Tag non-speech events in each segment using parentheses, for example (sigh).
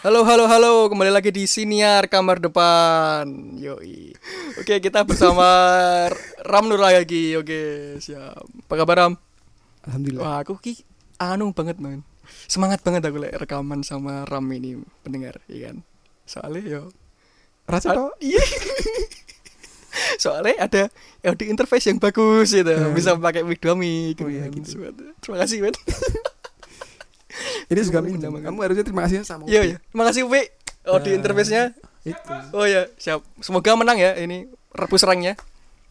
Halo, halo, halo. Kembali lagi di Siniar Kamar Depan. Yoi. Oke, kita (laughs) bersama Ram Nur lagi. Oke, siap. Apa kabar Ram? Alhamdulillah. Wah, aku ki anu banget, man. Semangat banget aku lek rekaman sama Ram ini pendengar, iya kan? Soalnya yo Rasa Ah, toh (laughs) Iya. Soalnya ada audio interface yang bagus gitu. Ya. Bisa pakai mic dummy gitu. Oh, iya, kan. gitu. Oh, Suat- Terima kasih, Wet. ini suka Kamu minjem. minjem. Kamu harusnya terima kasih sama. Iya, Upi. iya. Terima kasih, Wi. Audio Ya. interface-nya. Itu. Oh ya, siap. Semoga menang ya ini rebus serangnya.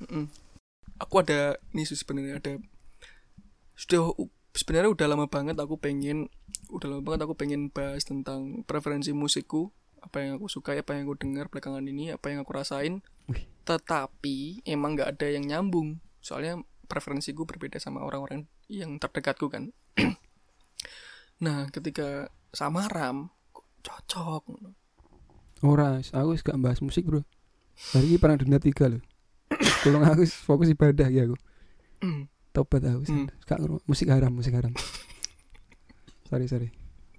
Mm-mm. Aku ada ini sih sebenarnya ada sudah sebenarnya udah lama banget aku pengen udah lama banget aku pengen bahas tentang preferensi musikku apa yang aku suka apa yang aku dengar belakangan ini apa yang aku rasain Wih. tetapi emang nggak ada yang nyambung soalnya preferensiku berbeda sama orang-orang yang terdekatku kan (clears throat) nah ketika sama Ram kok cocok Ora, aku suka bahas musik, Bro. Hari ini perang dunia tiga loh. Tolong aku fokus ibadah ya aku. Tobat aku. Hmm. Suka ngerungok- musik haram, musik haram. sorry, sorry.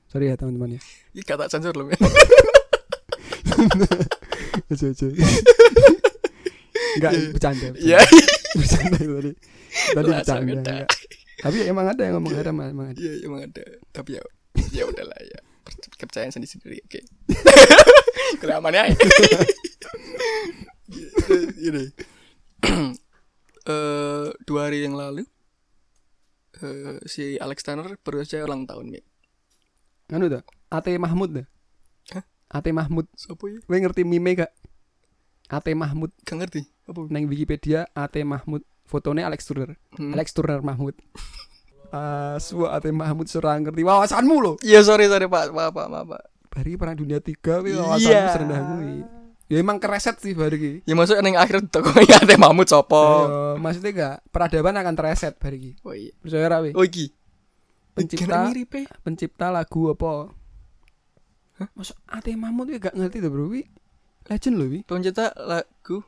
Sorry ya teman-teman ya. ini kata sensor loh (laughs) Aja aja. Enggak bercanda. bercanda. ya (laughs) Bercanda tadi. Tadi Langsung bercanda. ada. enggak. Tapi emang ada yang ngomong haram, emang ada. Iya emang ada Tapi ya ya udahlah ya Per- Kepercayaan sendiri-sendiri Oke Kelamannya aja Gini (clears throat) Eh, Dua hari yang lalu eh, Si Alex Tanner baru saja ulang tahun Mi Anu tuh, Ate Mahmud dah. Hah? Ate Mahmud. Siapa ya? Kowe ngerti meme gak? Ate Mahmud Gak ngerti Apa? neng Wikipedia Ate Mahmud fotonya Alex Turner. Hmm. Alex Turner Mahmud. (laughs) Ah, suwa Ate Mahmud serang ngerti wawasanmu loh. Iya sorry sorry pak Maaf pak maaf pak Bari perang dunia 3 kuwi Iya. wawasanmu serendah kuwi. Ya emang kereset sih bari iki. Ya maksudnya yang akhir tokonya ada Mahmud Sopo Ayo, maksudnya gak peradaban akan tereset bari iki. Oh iya Percaya ra we? Oh iki Gara Pencipta mirip eh. pencipta lagu apa? Hah? Masuk Ate Mahmud kuwi gak ngerti tuh, Bro. Kuwi legend loh kuwi. Pencipta lagu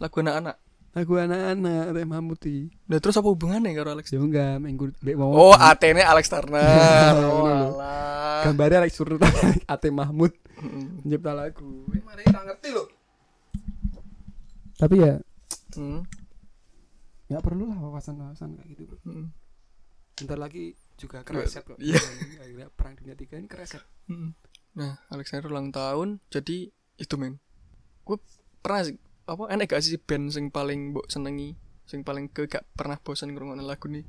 Lagu anak-anak Lagu anak-anak Ate Mahmud iki. Nah terus apa hubungannya karo Alex Ya enggak, minggu bek mau. Oh, AT-nya Alex (laughs) Turner. Iya, Oh, bener. alah. gambarnya Alex Turner (laughs) Ate Mahmud Mm, pencipta lagu. mari kita ngerti loh. Tapi ya Hmm, nggak perlu lah wawasan-wawasan kayak gitu, Bro. hmm, Bentar lagi juga kereset kok. Iya. (laughs) Akhirnya perang dunia 3 ini kereset. hmm. Nah, Alex Turner ulang tahun, jadi itu men. Gue pernah sih, apa enak gak sih band sing paling mbok senengi, sing paling ke gak pernah bosan ngrungokne lagu nih.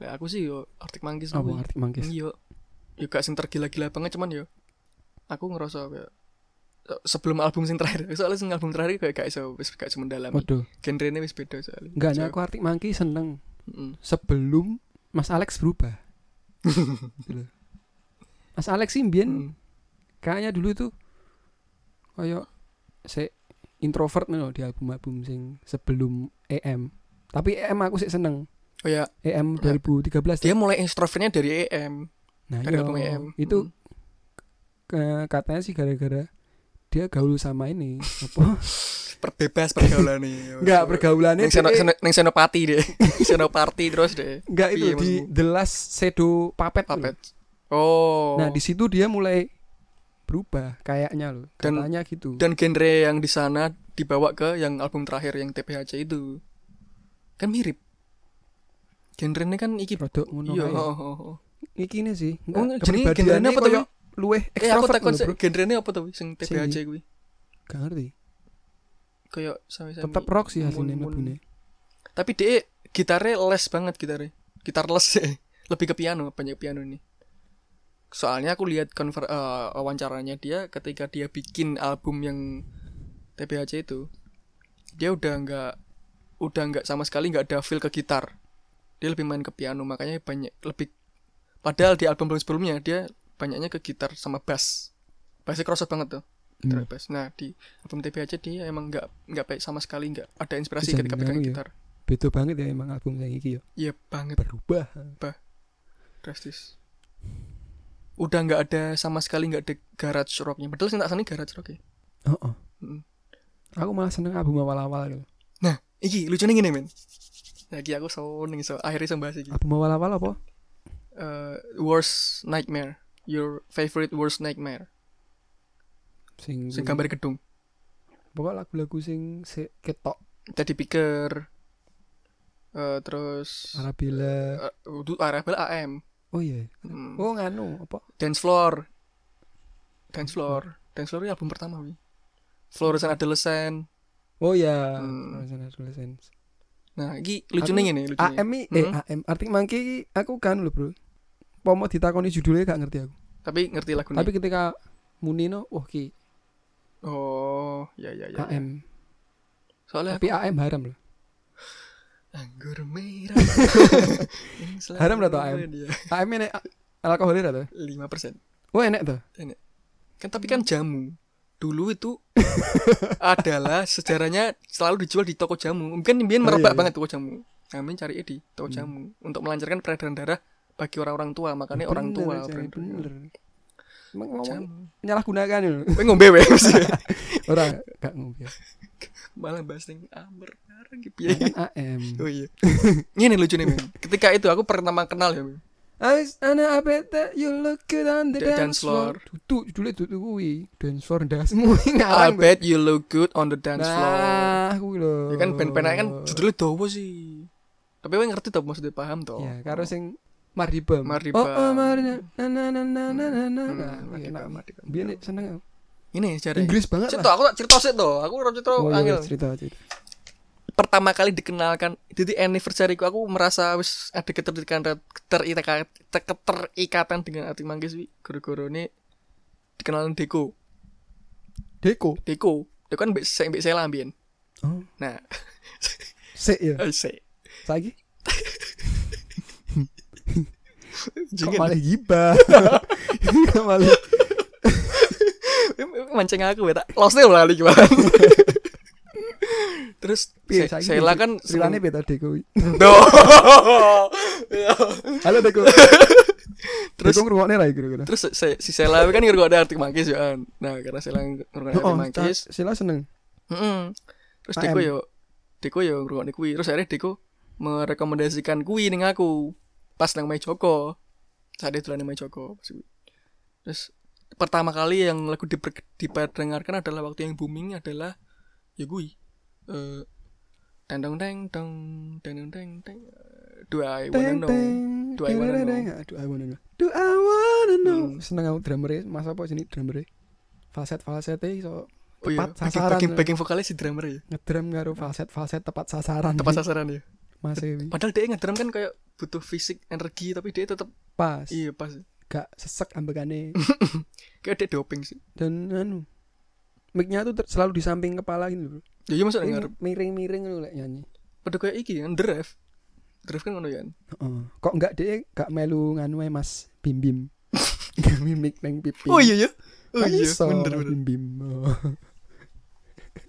Lah aku sih yo Arctic Monkeys Oh, kuwi. Bang Artik Manggis. Iya. Yo gak sing tergila-gila banget cuman yo aku ngerasa kayak sebelum album sing terakhir soalnya sing album terakhir kayak gak iso wis gak iso mendalami Waduh, genre-ne wis beda soalnya enggak nih So, aku Artik Mangki seneng mm. sebelum Mas (laughs) Alex berubah. Gitu loh. Mas Alex sih mbien Mm. kayaknya dulu tuh kayak se introvert nih loh di album-album sing sebelum EM. Tapi EM aku sih seneng. Oh ya, EM Ya. 2013 dia kan mulai introvertnya dari EM, Nah, dari iya. album EM. itu Mm. ke- katanya sih gara-gara dia gaul sama ini (laughs) apa? (laughs) perbebas pergaulan nih. Enggak pergaulannya Neng, seno, dia- seno, neng senopati (laughs) deh, (laughs) senopati terus deh. enggak itu Iya, di maksudmu. The Last Shadow Puppet. loh. Papet. Oh. Nah, di situ dia mulai berubah kayaknya loh. Dan- Katanya gitu. dan genre yang di sana dibawa ke yang album terakhir yang TPHC itu kan mirip. Genre ini kan iki Rodok ngono Iya. kae. Oh, oh, oh. Iki nih sih. Oh, jenenge genrenya apa tuh? Luweh Eh aku ekstrovert takon loh, sih, Bro. genre ini apa tuh sing TPHC kuwi? Gak ngerti. Kayak sami-sami. Tetap rock sih mun- hasilnya mun. mlebune. Tapi dia gitarnya les banget gitarnya. Gitar les (laughs) sih. Lebih ke piano, banyak piano ini. Soalnya aku lihat konver eh, wawancaranya dia ketika dia bikin album yang TBHC itu. Dia udah nggak udah nggak sama sekali nggak ada feel ke gitar. Dia lebih main ke piano makanya banyak lebih padahal di album sebelumnya dia banyaknya ke gitar sama bass. Bassnya crossover banget tuh. Gitar Hmm. bass. Nah, di album TBHC dia emang nggak nggak baik sama sekali nggak ada inspirasi Bisa ketika pegang mengaruh ya. gitar. Beda banget ya emang album yang iki ya. Iya banget Berubah. drastis. Udah nggak ada sama sekali nggak ada garage rocknya. Betul sih tak sani garage rock ya. Oh, oh. Mm. Aku malah seneng album awal-awal gitu. Nah, iki lucu nih men. Nah, iki aku seneng so akhirnya so bahas iki. Album awal-awal apa? Eh, worst nightmare. your favorite worst nightmare sing sing gambar gedung pokok lagu-lagu sing sik ketok Teddy Picker eh terus Arabella eh, itu Arabel AM oh iya Hmm. oh nganu apa Dance Floor Dance Floor Dance Floor ini album pertama wi Florence and Adolescent oh iya Hmm. Adolescence, adolescence. nah ini lucunya Aku- ini lucunya AM i- eh Hmm. AM arti mangki i aku kan lho bro pomo ditakoni judulnya gak ngerti aku tapi ngerti lagunya tapi ketika Munino wah ki oh ya ya ya ya. AM soalnya tapi AM haram loh anggur merah (laughs) Yang selalu Haram dah tau AM. dia. AM ini a- alkoholir atau 5% oh enak tuh kan tapi kan jamu dulu (laughs) itu adalah sejarahnya selalu dijual di toko jamu mungkin biar Oh, merebak iya, Hmm. iya. banget toko jamu kami cari di toko jamu untuk melancarkan peredaran darah bagi orang-orang tua makanya orang Bener, tua Jan, brand- bener emang ngomong jamu nyalah gunakan lho (laughs) Kowe ngombe weh maksudnya. orang gak ngomong malah bahas yang amber bareng gitu ya (laughs) kan AM oh iya ini lucu (laughs) nih men ketika itu aku pertama kenal ya men. I ana I bet that you look good on the Da- dance dance floor. Dudu judulnya dudu kuwi. Dance floor dance (laughs) mu I ngarang. bet you look good on the Ah, dance floor Nah, kuwi lho. ya kan band penanya kan judulnya dawa sih tapi kowe ngerti tau maksudnya paham tau Ya, karo sing Maribam. Maribam. Oh, oh mari na na na na na na na. Hmm, Nah, kuwi Maribam, enak. Maribam. Biyen nek seneng aku. ini sejarah Inggris banget Cito, lah. aku tak cerita sih tuh. Aku orang cerita Oh, iya, angel. cerita cerita. Pertama kali dikenalkan, jadi anniversary ku aku merasa wis ada keterikatan keterikatan keterikatan dengan arti manggis wi. Guru-guru ini dikenalan Deko. Deko. Deko, Deko kan mbek sing mbek saya lambien. Oh, Nah, (laughs) sik ya. saya Saiki kok jangan malah (laughs) gibah. (laughs) Kok malah mancing aku ya tak lost deh lali gimana. Terus piye Se- saiki? Sheila kan ceritane beta (laughs) Deko. Duh. Halo Deko. Terus Terus- Deko ngrungokne ra iki kira-kira. Terus se- si Sheila kan ngerokok ada arti manggis ya. kan. Nah, karena Sheila ngerokok Oh, arti manggis, ta- Sila seneng. Mm-mm. Terus AM. Deko yo Deko yo ngrungokne kuwi. Terus akhirnya Deko merekomendasikan kuwi ning aku pas nang Mai Joko. Saat itu nang Mai Joko. pas kuwi. Terus pertama kali yang lagu diper, diperdengarkan adalah waktu yang booming adalah ya kuwi. Eh teng dong teng dong teng dong teng teng do I wanna Teng, know teng, Do I wanna teng, know? teng, teng. Do I wanna know? Do I wanna know? Hmm. Seneng aku drummernya, Mas apa sini drummernya? Falset falset iso oh iya tepat backing, sasaran. backing, backing vokalnya si drummer ya ngedrum karo falset falset tepat sasaran. tepat sasaran ya Mas Ewi. padahal dia ngedrum kan kayak butuh fisik energi tapi dia tetap Pas. iya pas Gak sesek ambekane. kayak dia doping sih Dan anu mic-nya tuh ter- selalu di samping kepala gitu bro. ya iya maksudnya Ini ngarep Miring-miring gitu lek nyanyi. pada kayak iki kan drive drive kan ngono ya Heeh. Kok enggak dia gak melu nganu ae Mas Bim (laughs) Bim. Gak mimik neng pipi. oh iya ya oh Kan iya iso, bener Mas bener Bim (laughs) Bim. Oh.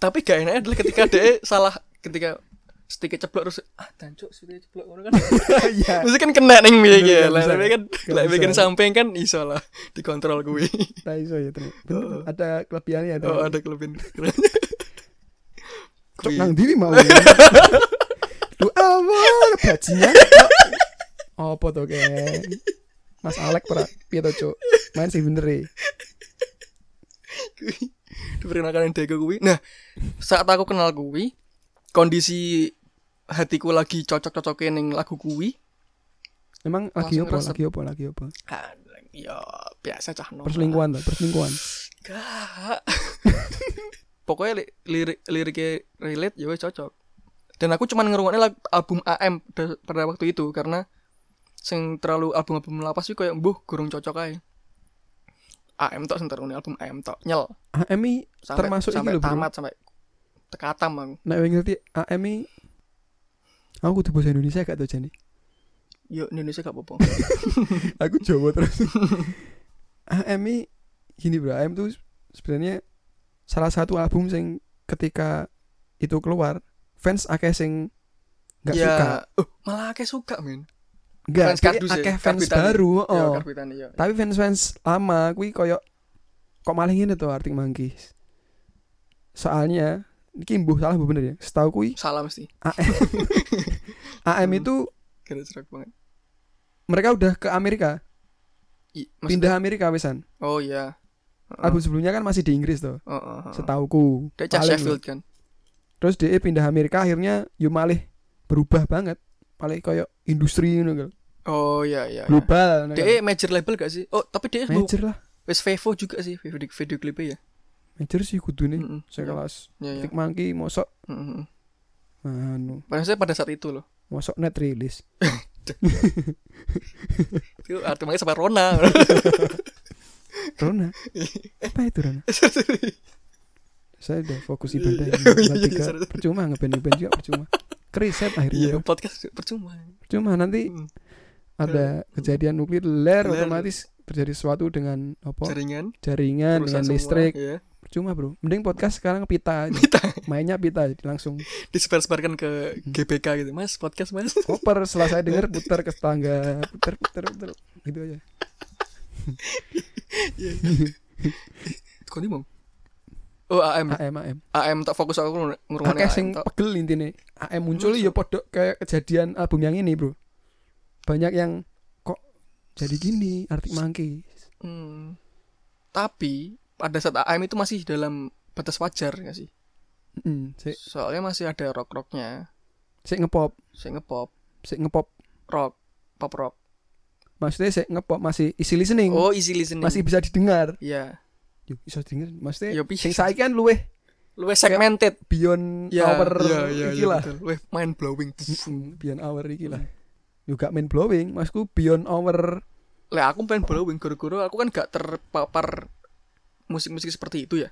tapi gak enaknya adalah ketika (laughs) dia salah ketika sedikit ceplok terus ah tancuk sedikit ceplok ngono (laughs) kan Iya. mesti kan kena ning miye Bener, ya gak lah bisa. tapi kan Gak lah bisa. bikin samping kan iso lah dikontrol gue Tak iso ya ternyata. Bener, Oh. ada kelebihannya ya, ada. oh ada kelebihan (laughs) Cok Kui. nang diri mau. Lu awal bajingan. Apa tuh kayak Mas Alek pra piye to cok? Main sih bener e. Kui. diperkenalkan yang Dego kui nah saat aku kenal kui kondisi hatiku lagi cocok-cocokin yang lagu kui Emang lagi Langsung opo? ngerasa- Lagi opo? Lagi opo? ah, ya biasa cah normal. Perselingkuhan tuh, perselingkuhan. Gak. (laughs) Pokoknya li- lirik liriknya relate ya wes cocok. Dan aku cuman ngerungoknya lag- album AM da- pada waktu itu karena sing terlalu album-album lapas sih kayak mbuh gurung cocok aja. AM tok sing ngerungokne album AM tok nyel AMI sampai termasuk iki sampai lho, Bro. tamat sampai tekatam aku. Nek kowe ngerti AMI Aku kudu bahasa Indonesia gak tau jane. Yo Indonesia gak apa-apa. Aku Jawa terus. AMI gini bro, AM tuh sebenarnya salah satu album sing ketika itu keluar fans akeh sing nggak Ya, suka Oh, malah akeh suka men. Fans Enggak, jadi kardus ya, Iya, akeh fans karbitan. baru, Yo oh. karbitan yo. Tapi fans-fans lama kuwi koyo kok malah ngene to Arctic Monkeys. Soalnya iki mbuh salah mbuh bener ya. Setahu kuwi Salah mesti. AM Hmm. AM itu Kira cerok banget. mereka udah ke Amerika. I- maksud- pindah Amerika wesan. Oh iya. Heeh. Album sebelumnya kan masih di Inggris tuh, Heeh, heeh. setauku. Dia cah Paling Oh. Sheffield kan. terus dia pindah Amerika akhirnya yo malih berubah banget malih koyo industri ngono gitu. Oh iya iya. iya. global ngono gitu. Dia major label gak sih? Oh, tapi dia bu- major lah wis Vevo juga sih video, video klipnya ya. major sih kudune Heeh. saya kelas Iya, Hmm. iya. Tick Monkey mosok Heeh, heeh. anu Padahal saya pada saat itu loh. mosok net rilis Itu ah, artinya sampai (laughs) Rona. (laughs) Rona apa itu Rona saya udah fokus ibadah Iya, ini. iya, iya, Nanti sorry. gak- percuma ngeband ngeband juga percuma keriset akhirnya Iya, dong. (laughs) podcast percuma. percuma nanti Hmm. ada kejadian nuklir Ler. ler otomatis terjadi sesuatu dengan apa Jaringan jaringan rusak dengan semua, listrik ya. percuma bro mending podcast sekarang pita aja. Pita. mainnya pita jadi langsung Disebar-sebarkan ke Hmm. GBK gitu. Mas, podcast Mas. (laughs) koper setelah saya denger putar ke tetangga putar putar putar gitu aja Kok ini, Bang? Oh, AM. AM AM AM tak fokus aku ngur- ngurungane akeh AM sing tok. pegel intine AM muncul ya podo kayak kejadian album yang ini bro banyak yang kok jadi gini arti mangki Hmm. Tapi pada saat AM itu masih dalam batas wajar nggak sih? sik Soalnya masih ada rock-rocknya. sik ngepop Saya ngepop, sik ngepop rock, pop rock. maksudnya sik ngepop masih isi listening Oh, easy listening. masih bisa didengar Iya. Yo, bisa didengar maksudnya Ya bisa. sing saiki kan luweh Luwes segmented. beyond Ya, our ya, ya, iki ya, lah. betul. Luwes mind blowing. Mm, beyond our iki lah Hmm. juga main blowing maksudku beyond our Lah aku pengen blowing guru-guru aku kan gak terpapar musik-musik seperti itu ya.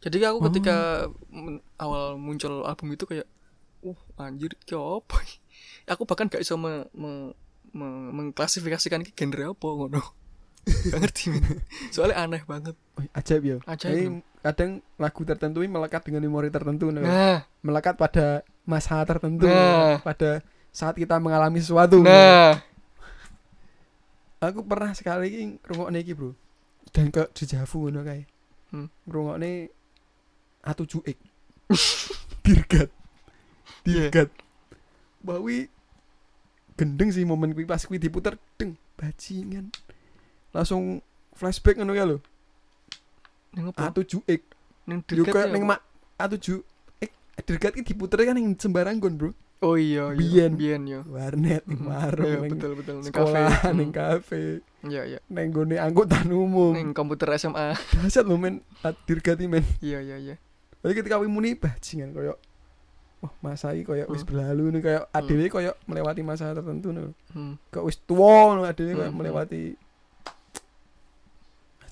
Jadi aku ketika men- awal muncul album itu kayak uh anjir ki apa? ini?" Aku bahkan gak iso me, me- me- mengklasifikasikan ki genre apa ngono. gak ngerti men. Soalnya aneh banget. Wih, ajaib ya Ajaib, Jadi, kadang lagu tertentu ini melekat dengan memori tertentu nah. Nah, melekat pada masa tertentu Nah. pada saat kita mengalami sesuatu nah. aku pernah sekali ini ngrungokne iki bro dan ke dejavu ngono kae Hmm. ngrungokne atu cuik (laughs) dirgat dirgat Iya. Wah, kuwi gendeng sih momen kuwi pas kuwi diputer deng bajingan langsung flashback ngono ya lho Ning apa? atu cuik Ning Yo Iya. dirgatnya kayak ning apa? mak A7 eh dirgat iki diputer kan ning sembarang gon, Bro. Oh iya, iya. Biyen. Biyen yo. Warnet Iya, ning warung ning betul betul ning kafe. sekolah Hmm. ning kafe Iya, iya. ning gone angkutan umum. Ning komputer SMA. Dasar lho men A- dirgat iki men. (laughs) Iya, iya, iya. Tapi ketika kuwi muni bajingan koyo wah masa iki koyo wis Hmm. berlalu nih koyo Hmm. adewe koyo melewati masa tertentu nih. Hmm. Kok wis tuwa nih adewe koyo Hmm. melewati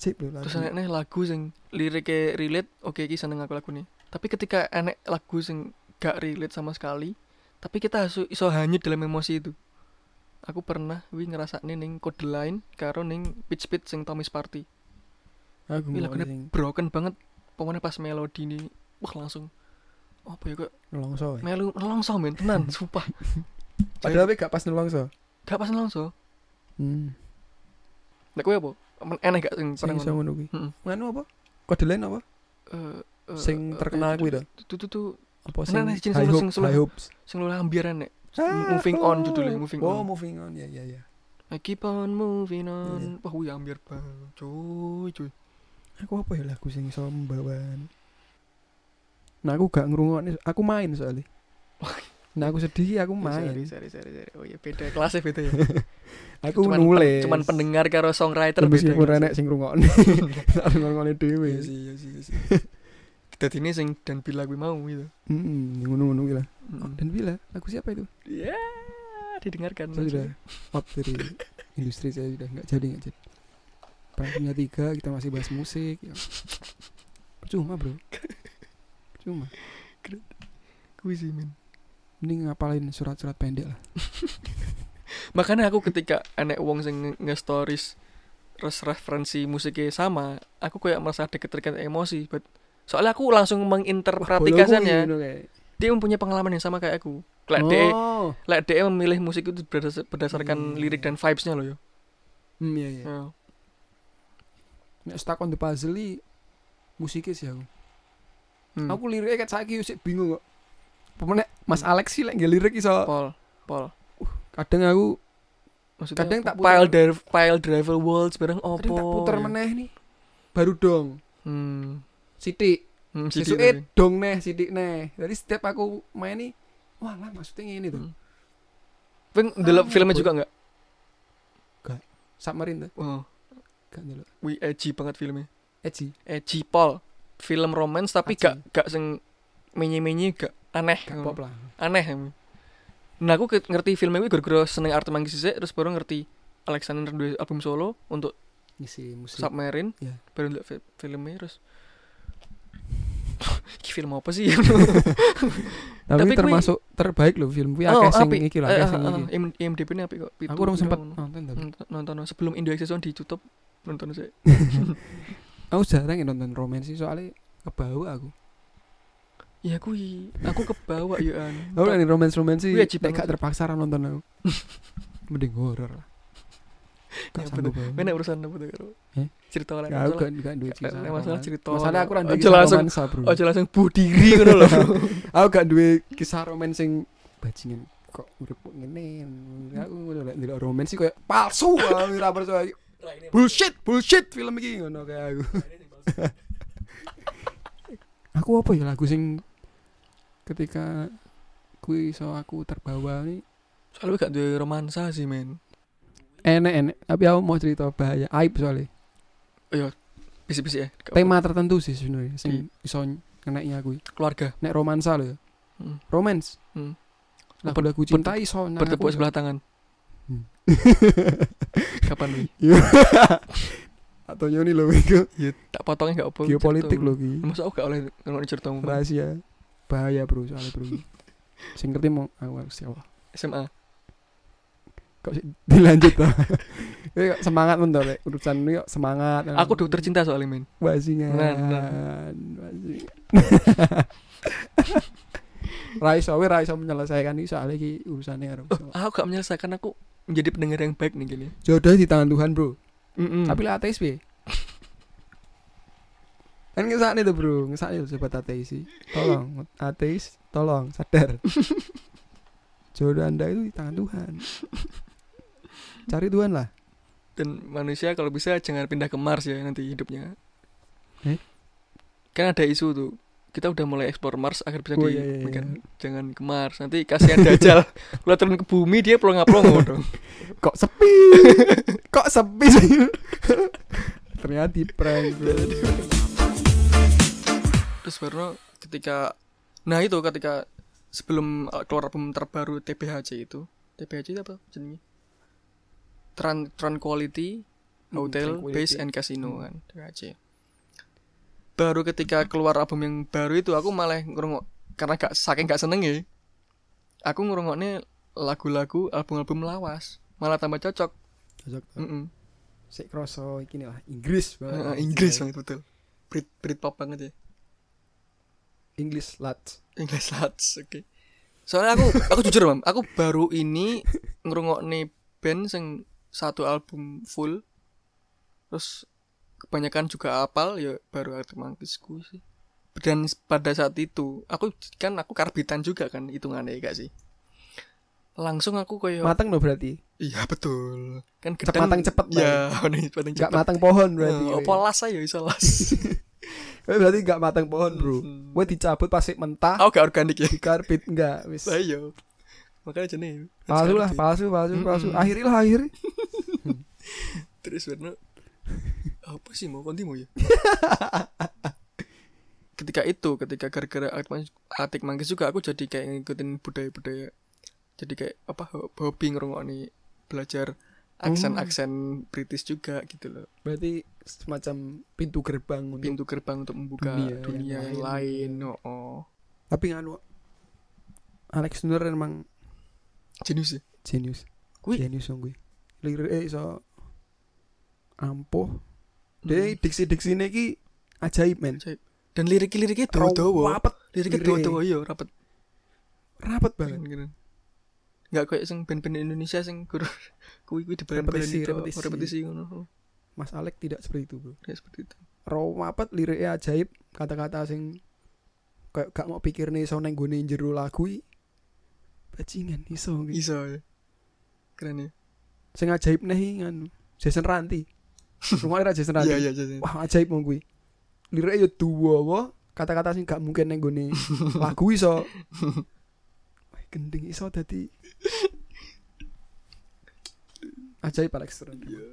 Ajib lho lagu. Terus enek nih lagu sing liriknya relate, oke iki seneng aku lagu nih. Tapi ketika enek lagu sing gak relate sama sekali, tapi kita hasu, iso hanyut dalam emosi itu. Aku pernah wi ngerasakne ning Code Line karo ning Pitch Pitch sing Tommy's Party. Aku Ini mau lagunya sing Broken banget pokoknya pas melodi nih, wah langsung apa ya kok nelongso. ya. melu nelongso men (laughs) tenan sumpah. Padahal tapi gak pas nelongso. gak pas nelongso. Hmm. Nek kowe apa? Men- Enek gak sing Sing pernah iso ngono? Hmm. ngono kuwi. Heeh. Nganu apa? Kode lain apa? Eh, eh, sing eh, terkenal kuwi to. Tuh tuh tuh Apa Nah, sing nah, sing solo, High Hope- sing solo. High Hopes. sing lu ambiaran nek. Ah, Moving On oh. judulnya, Moving oh, On. Moving On. Ya ya ya. I keep on moving on. Wah, wih ambiar banget. Cuy, cuy. Iya. Aku apa ya lagu sing iso membawan. Nah, aku gak ngrungokne, aku main (laughs) soalnya. Nah, aku sedih Iya, aku Sorry, main. sorry, sorry, sorry. Oh ya beda kelasnya beda ya. (laughs) Aku cuman, nulis. Cuman pendengar karo songwriter beda. meskipun kelas. renek sing (laughs) ngrungokne. Tak ngrungokne dhewe. Iya sih, iya sih, iya sih. Dadi ini sing dan bila gue mau gitu. Heeh, ngono-ngono iki lah. Oh, Mm. (laughs) Dan bila lagu siapa itu? Ya, didengarkan. Saya sudah out dari industri saya sudah nggak jadi nggak jadi. Perang dunia tiga kita masih bahas musik. Ya. Percuma bro. Percuma. Kuwi sih, men. Mending ngapalin surat-surat pendek lah. Makanya aku ketika enek wong sing nge- nge-stories res referensi musiknya sama, aku kayak merasa deket-deket emosi, but soalnya aku langsung menginterpretasikannya. Boloku gitu, kayak. Dia mempunyai pengalaman yang sama kayak aku. ya. Lek dia Oh. Lek DE memilih musik itu berdasar- berdasarkan Hmm. lirik dan vibes-nya loh yo. Hmm, iya, iya. Ya. Nek stuck on the puzzle i, musiknya sih aku. Hmm. Aku liriknya kayak saiki yo sik bingung kok. Hmm. Pemenek Mas Alex sih lek nggak lirik iso. Pol, pol. Kadang aku maksudnya Kadang tak pile puter. driver pile driver worlds bareng opo Kadang tak puter ya? meneh nih. Baru dong. hmm, Siti. hmm Siti tapi. dong neh, Siti neh. Jadi setiap aku main nih, wah lah maksudnya ini tuh. Hmm. Peng, delok gitu. Ah, filmnya boy. juga nggak? Submarine tuh. Oh, Gak Eh, dulu. wih edgy banget filmnya. Edgy. Edgy Paul, Eh, film romance tapi Edgy. gak gak sing menye-menye gak aneh. Gak pop lah. Aneh. em. Nah aku ke- ngerti filmnya gue gara-gara seneng Art Manggis sih, terus baru ngerti Alexander dua album solo untuk Ngisi musik. Submarine, Iya. baru ndelok fi- filmnya terus. (laughs) Ini film apa sih? tapi, Tapi kui- termasuk terbaik loh film kuwi (laughs) Oh, akeh sing apik. iki lho, Eh, akeh eh, sing eh, iki. IM- IMDb ini apik kok. Aku Pitu, urung pira sempat ngono. nonton (laughs) tapi. Nonton- nonton sebelum Indo Access Zone ditutup nonton sih. Aku jarang ya nonton romance sih soalnya kebawa aku. Ya kui, aku kebawa yuk an. Aku nih romance romance sih Wih, ajib nek banget. gak terpaksa ra nonton aku. (laughs) Mending horor lah. Gak Ya, sanggup aku. Mana urusan apa tuh karo? Eh? Cerita lain Ya, aku masalah. gak gak duwe kisah. Lain masalah romance. cerita. Masalah aku ra duwe Aja kisah langsung romansa, Hmm. Bro. aja gitu langsung bunuh diri ngono lho. Bro. (laughs) Aku gak duwe kisah romance sing bajingan kok urip kok ngene. Aku lek ndelok romance sih koyo palsu (laughs) aku ra percaya. Bullshit, bullshit film iki ngono kayak aku. (laughs) aku apa ya lagu sing ketika kui so aku terbawa nih Soalnya gak duwe romansa sih men. enek enek tapi aku mau cerita bahaya aib soalnya Bisi-bisi ya. Gak tema tertentu sih sebenarnya Di- sing iso ngeneknya aku apa. keluarga nek romansa loh ya Hmm. romance Hmm. lagu-lagu Bertepuk- cinta iso nang bertepuk Nah, ya, aku. sebelah tangan. Hmm. Kapan nih? Iya. (laughs) atau nyoni loh itu Tak potongnya gak apa. geopolitik loh ki Masa aku gak oleh ngono ceritamu. Bro? rahasia bahaya bro (laughs) soalnya bro sing ngerti mau awal siapa SMA. Nah. kok sih (laughs) dilanjut lah Ini kok semangat mentor Lek. urusan ini kok semangat Aku dokter cinta soalnya men. Bajingan. Nah, nah. Bajingan. (laughs) Raiso, we Raiso menyelesaikan ini soalnya ki urusannya karo. Oh, Aku gak menyelesaikan aku menjadi pendengar yang baik nih gini. Jodoh di tangan Tuhan, Bro. Mm-mm. Tapi lah ateis piye? Kan ngesakne tuh, Bro. Ngesakne tuh sobat ateis sih. Tolong, ateis, tolong sadar. (laughs) Jodoh Anda itu di tangan Tuhan. Cari Tuhan lah. dan manusia kalau bisa jangan pindah ke Mars ya nanti hidupnya. Eh? Kan ada isu tuh. Kita udah mulai eksplor Mars agar bisa Oh, di iya, iya, kan, iya. jangan ke Mars. Nanti kasihan (laughs) Dajjal. Kalau turun ke bumi dia plong-plong dong. Kok sepi? (laughs) Kok sepi sih? Ternyata di prank, Bro. Terus baru ketika nah itu ketika sebelum uh, keluar album terbaru TBHC itu. TBHC itu apa jenisnya? Tran Tran Quality Hmm, Hotel Tranquility. Base and Casino Hmm. kan TBHC. Baru ketika keluar album yang baru itu aku malah ngurungok karena gak saking gak seneng ya. Aku ngurungoknya lagu-lagu album-album lawas malah tambah cocok. Cocok. Mm-mm. Sik kroso iki nih lah Inggris banget. Heeh, Inggris banget betul. Brit Britpop banget ya. Inggris lat. English Lads, oke. Soalnya aku aku jujur, Mam, aku baru ini ngrungokne band sing satu album full. Terus kebanyakan juga apal ya baru Arctic Monkeys ku sih. Dan pada saat itu, aku kan aku karbitan juga kan hitungannya ya gak sih? Langsung aku kayak Mateng loh berarti. iya betul. Kan Cep- gedang- matang cepet, Ya, (laughs) matang Gak cepet. mateng pohon berarti. iya. Berarti kowe. opo las ayo iso (laughs) las. Kowe berarti gak mateng pohon, Bro. Hmm. Kowe dicabut pasti mentah, Aku gak organik ya. dikarbit enggak wis. Lah iya. Makanya jenis Palsu lah, palsu, palsu, Mm-mm. palsu. Akhiri lah, akhiri. Terus Werno apa sih mau konti mau ya? ketika itu, ketika gara-gara Arctic Monkeys- Arctic Monkeys juga aku jadi kayak ngikutin budaya-budaya. Jadi kayak apa ho- hobi ngerungokni belajar aksen-aksen British juga gitu loh. Berarti semacam pintu gerbang untuk Pintu gerbang untuk membuka Dunia dunia, yang yang lain. lain. Oh, tapi nganu Alex Nur emang Jenius sih. genius. Kui- Genius dong gue. Lirik eh iso ampuh. Hmm. Deh, diksi-diksi ini ki ajaib, men. Dan lirik-liriknya dawa-dawa. Rapet, Liriknya lirik. dawa-dawa iya, rapet rapet banget. banget. Enggak kayak sing band-band Indonesia sing kur- (laughs) kuwi-kuwi di itu Repetisi, repetisi. repetisi ngono. Mas Alek tidak seperti itu bro Ya seperti itu. Raw apet liriknya ajaib Kata-kata sing Kayak gak mau pikir nih so neng gune jero lagu i. Bajingan iso nge- Iso ya. Keren ya. sing ajaib nih nganu Jason (laughs) Ranti rumahnya Jason Ranti Iya iya Jason. wah ajaib mong kuwi liriknya ya duwawa kata-kata sing gak mungkin neng (laughs) gone lagu iso Wah, gendeng iso (laughs) dadi ajaib Alex Turner Iya.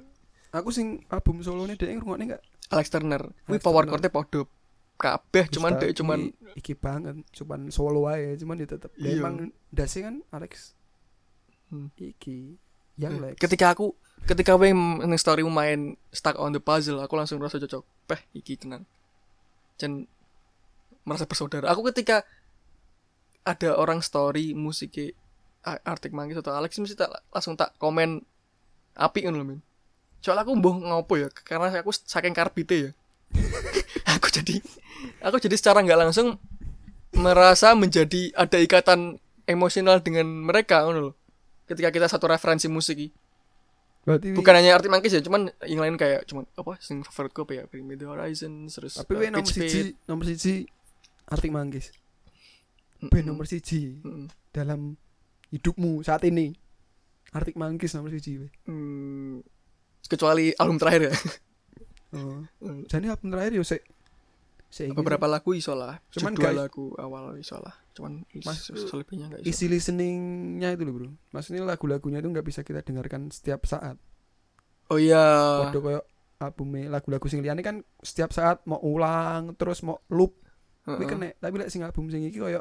aku sing album solonya dia ngrungokne gak Alex Turner. Iya. Kuwi Alex power Turner. chord-e padha kabeh cuman Wis, dhek tapi cuman iki banget cuman solo aja cuman dia tetep dia Iya. emang dasi kan Alex Hmm. iki yang Lex ketika aku ketika aku yang story main stuck on the puzzle aku langsung merasa cocok peh iki tenang dan merasa bersaudara aku ketika ada orang story musiknya A- Arctic Monkeys atau Alex mesti tak langsung tak komen api ngono lho, men soalnya aku mbuh ngopo ya karena aku saking karbite ya (laughs) aku jadi aku jadi secara nggak langsung merasa menjadi ada ikatan emosional dengan mereka ngono loh ketika kita satu referensi musik iki berarti Iya. bukan hanya arti mangkis ya cuman yang lain kayak cuman apa sing favorit gue apa ya Bring Me The Horizon terus eh, tapi gue nomor siji nomor siji Artik Manggis Hmm. gue nomor siji dalam hidupmu saat ini Artik Manggis nomor siji weh. Mm. kecuali album (laughs) terakhir ya oh. Hmm. jadi album terakhir yo sik sik iki beberapa lagu iso lah Cuman judul guys- lagu awal iso lah cuman is- Mas- selebihnya nggak sih. iso isi listeningnya itu loh bro maksudnya lagu-lagunya itu nggak bisa kita dengarkan setiap saat oh iya Podo koyo albume lagu-lagu sing liyane kan setiap saat mau ulang terus mau loop kuwi Heeh. kena tapi lek sing album sing iki koyo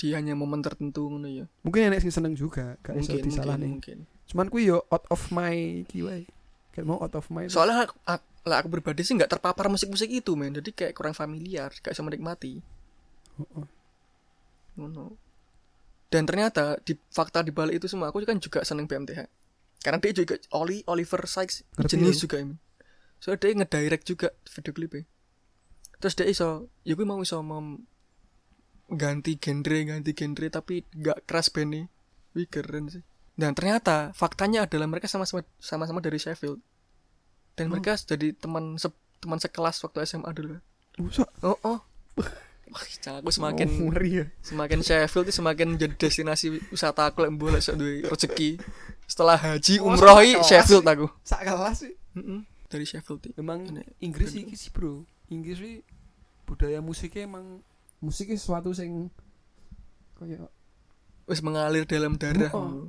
di hanya momen tertentu ngono ya mungkin enek sing seneng juga gak iso mungkin mungkin, disalahne mungkin cuman kuwi yo out of my iki wae Kayak mau out of my soalnya aku, aku, lah aku pribadi sih nggak terpapar musik-musik itu men jadi kayak kurang familiar gak bisa menikmati Oh, oh. Ngono. Dan ternyata di fakta di balik itu semua aku kan juga seneng BMTH. Karena dia juga Oli Oliver Sykes Ngerti jenis aku. juga ini. Soalnya dia ngedirect juga video klipnya. Terus dia iso, ya gue mau iso mem ganti genre, ganti genre tapi gak keras bandnya. Wih keren sih. Dan ternyata faktanya adalah mereka sama-sama sama-sama dari Sheffield. Dan Oh. mereka jadi teman se- teman sekelas waktu SMA dulu. Masa? Oh oh. (laughs) Wah, jangan aku semakin Oh, ngeri ya Semakin Sheffield itu semakin jadi destinasi wisata aku lek mbok lek sok duwe rezeki. Setelah haji Oh, umroh sampai iki kelas. Sheffield aku. sak kelas sih Mm-mm, Dari Sheffield. iki. emang Ini- Inggris iki sih bro Inggris sih budaya musiknya emang musiknya sesuatu sing koyo Wis mengalir dalam darah. Oh.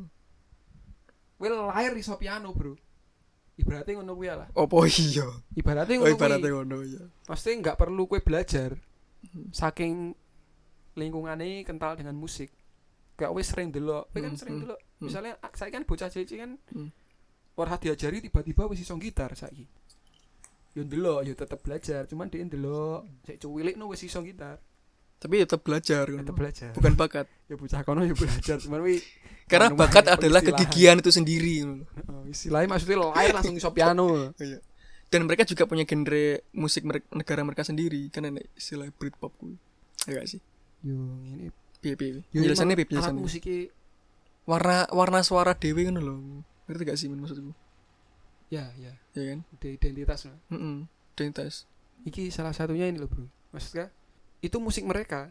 Well lahir iso piano bro ibaratnya ngono kuwi ya lah Opo iya. Oh ibaratnya Oh. ngono ibaratnya kuwi ngono ya. pasti nggak perlu kue belajar Hmm. saking lingkungannya kental dengan musik kayak wis sering delok kowe kan Hmm, sering hmm, delok hmm. misalnya saya kan bocah cilik kan Hmm. ora diajari tiba-tiba wis iso gitar saiki yo ndelok yo tetep belajar cuman dia ndelok sik cuwilik no wis iso gitar Tapi tetap belajar ngono. tetep belajar Bukan bakat. ya bocah kono yo belajar cuman wi Karena Anu, bakat makanya adalah pengistilahan. kegigihan itu sendiri ngono. oh, istilahnya maksudnya lahir langsung iso piano Iya. Dan mereka juga punya genre musik merek- negara mereka sendiri kan ada istilah Britpop kuwi. Ya gak sih? yo ini Piye piye. yo Penjelasannya piye emang alat penjelasannya? musiknya Warna warna suara dewe ngono lho. Ngerti gak sih Min, maksudku? ya ya Ya kan? de- identitas no. Mm-mm. Identitas. Iki salah satunya ini loh bro Maksudnya Itu musik mereka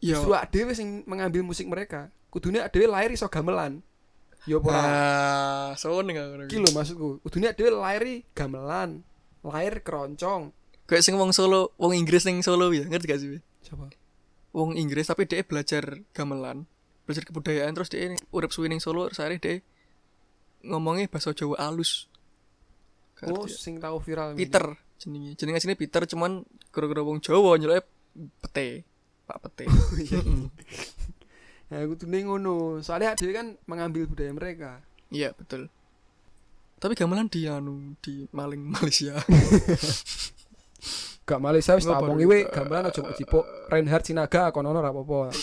Yo. Justru adewe sing mengambil musik mereka Kudunya adewe lahir iso gamelan Yo pora Nah, soalnya nggak ngono. Iki lho maksudku Kudunya adewe lahir i gamelan Lahir keroncong Kayak sing wong Solo, wong Inggris yang Solo ya, ngerti gak sih? Wi? Coba Wong Inggris tapi dia belajar gamelan, belajar kebudayaan terus dia urip suwi ning Solo, sehari dia ngomongnya bahasa Jawa alus. Gak Oh ngerti ya. sing tau viral ini. Peter jenenge. Jenenge asline Peter cuman gara-gara wong Jawa nyeloke pete. Pak pete. (laughs) Mm-mm. Nah kudunya ngono Soalnya adewe kan mengambil budaya mereka Iya, betul. Tapi gamelan di anu di maling Malaysia. Gak Malaysia wis Nggak tak omongi perlu. we gamelan aja mbok cipok Reinhard Sinaga kono ora apa-apa.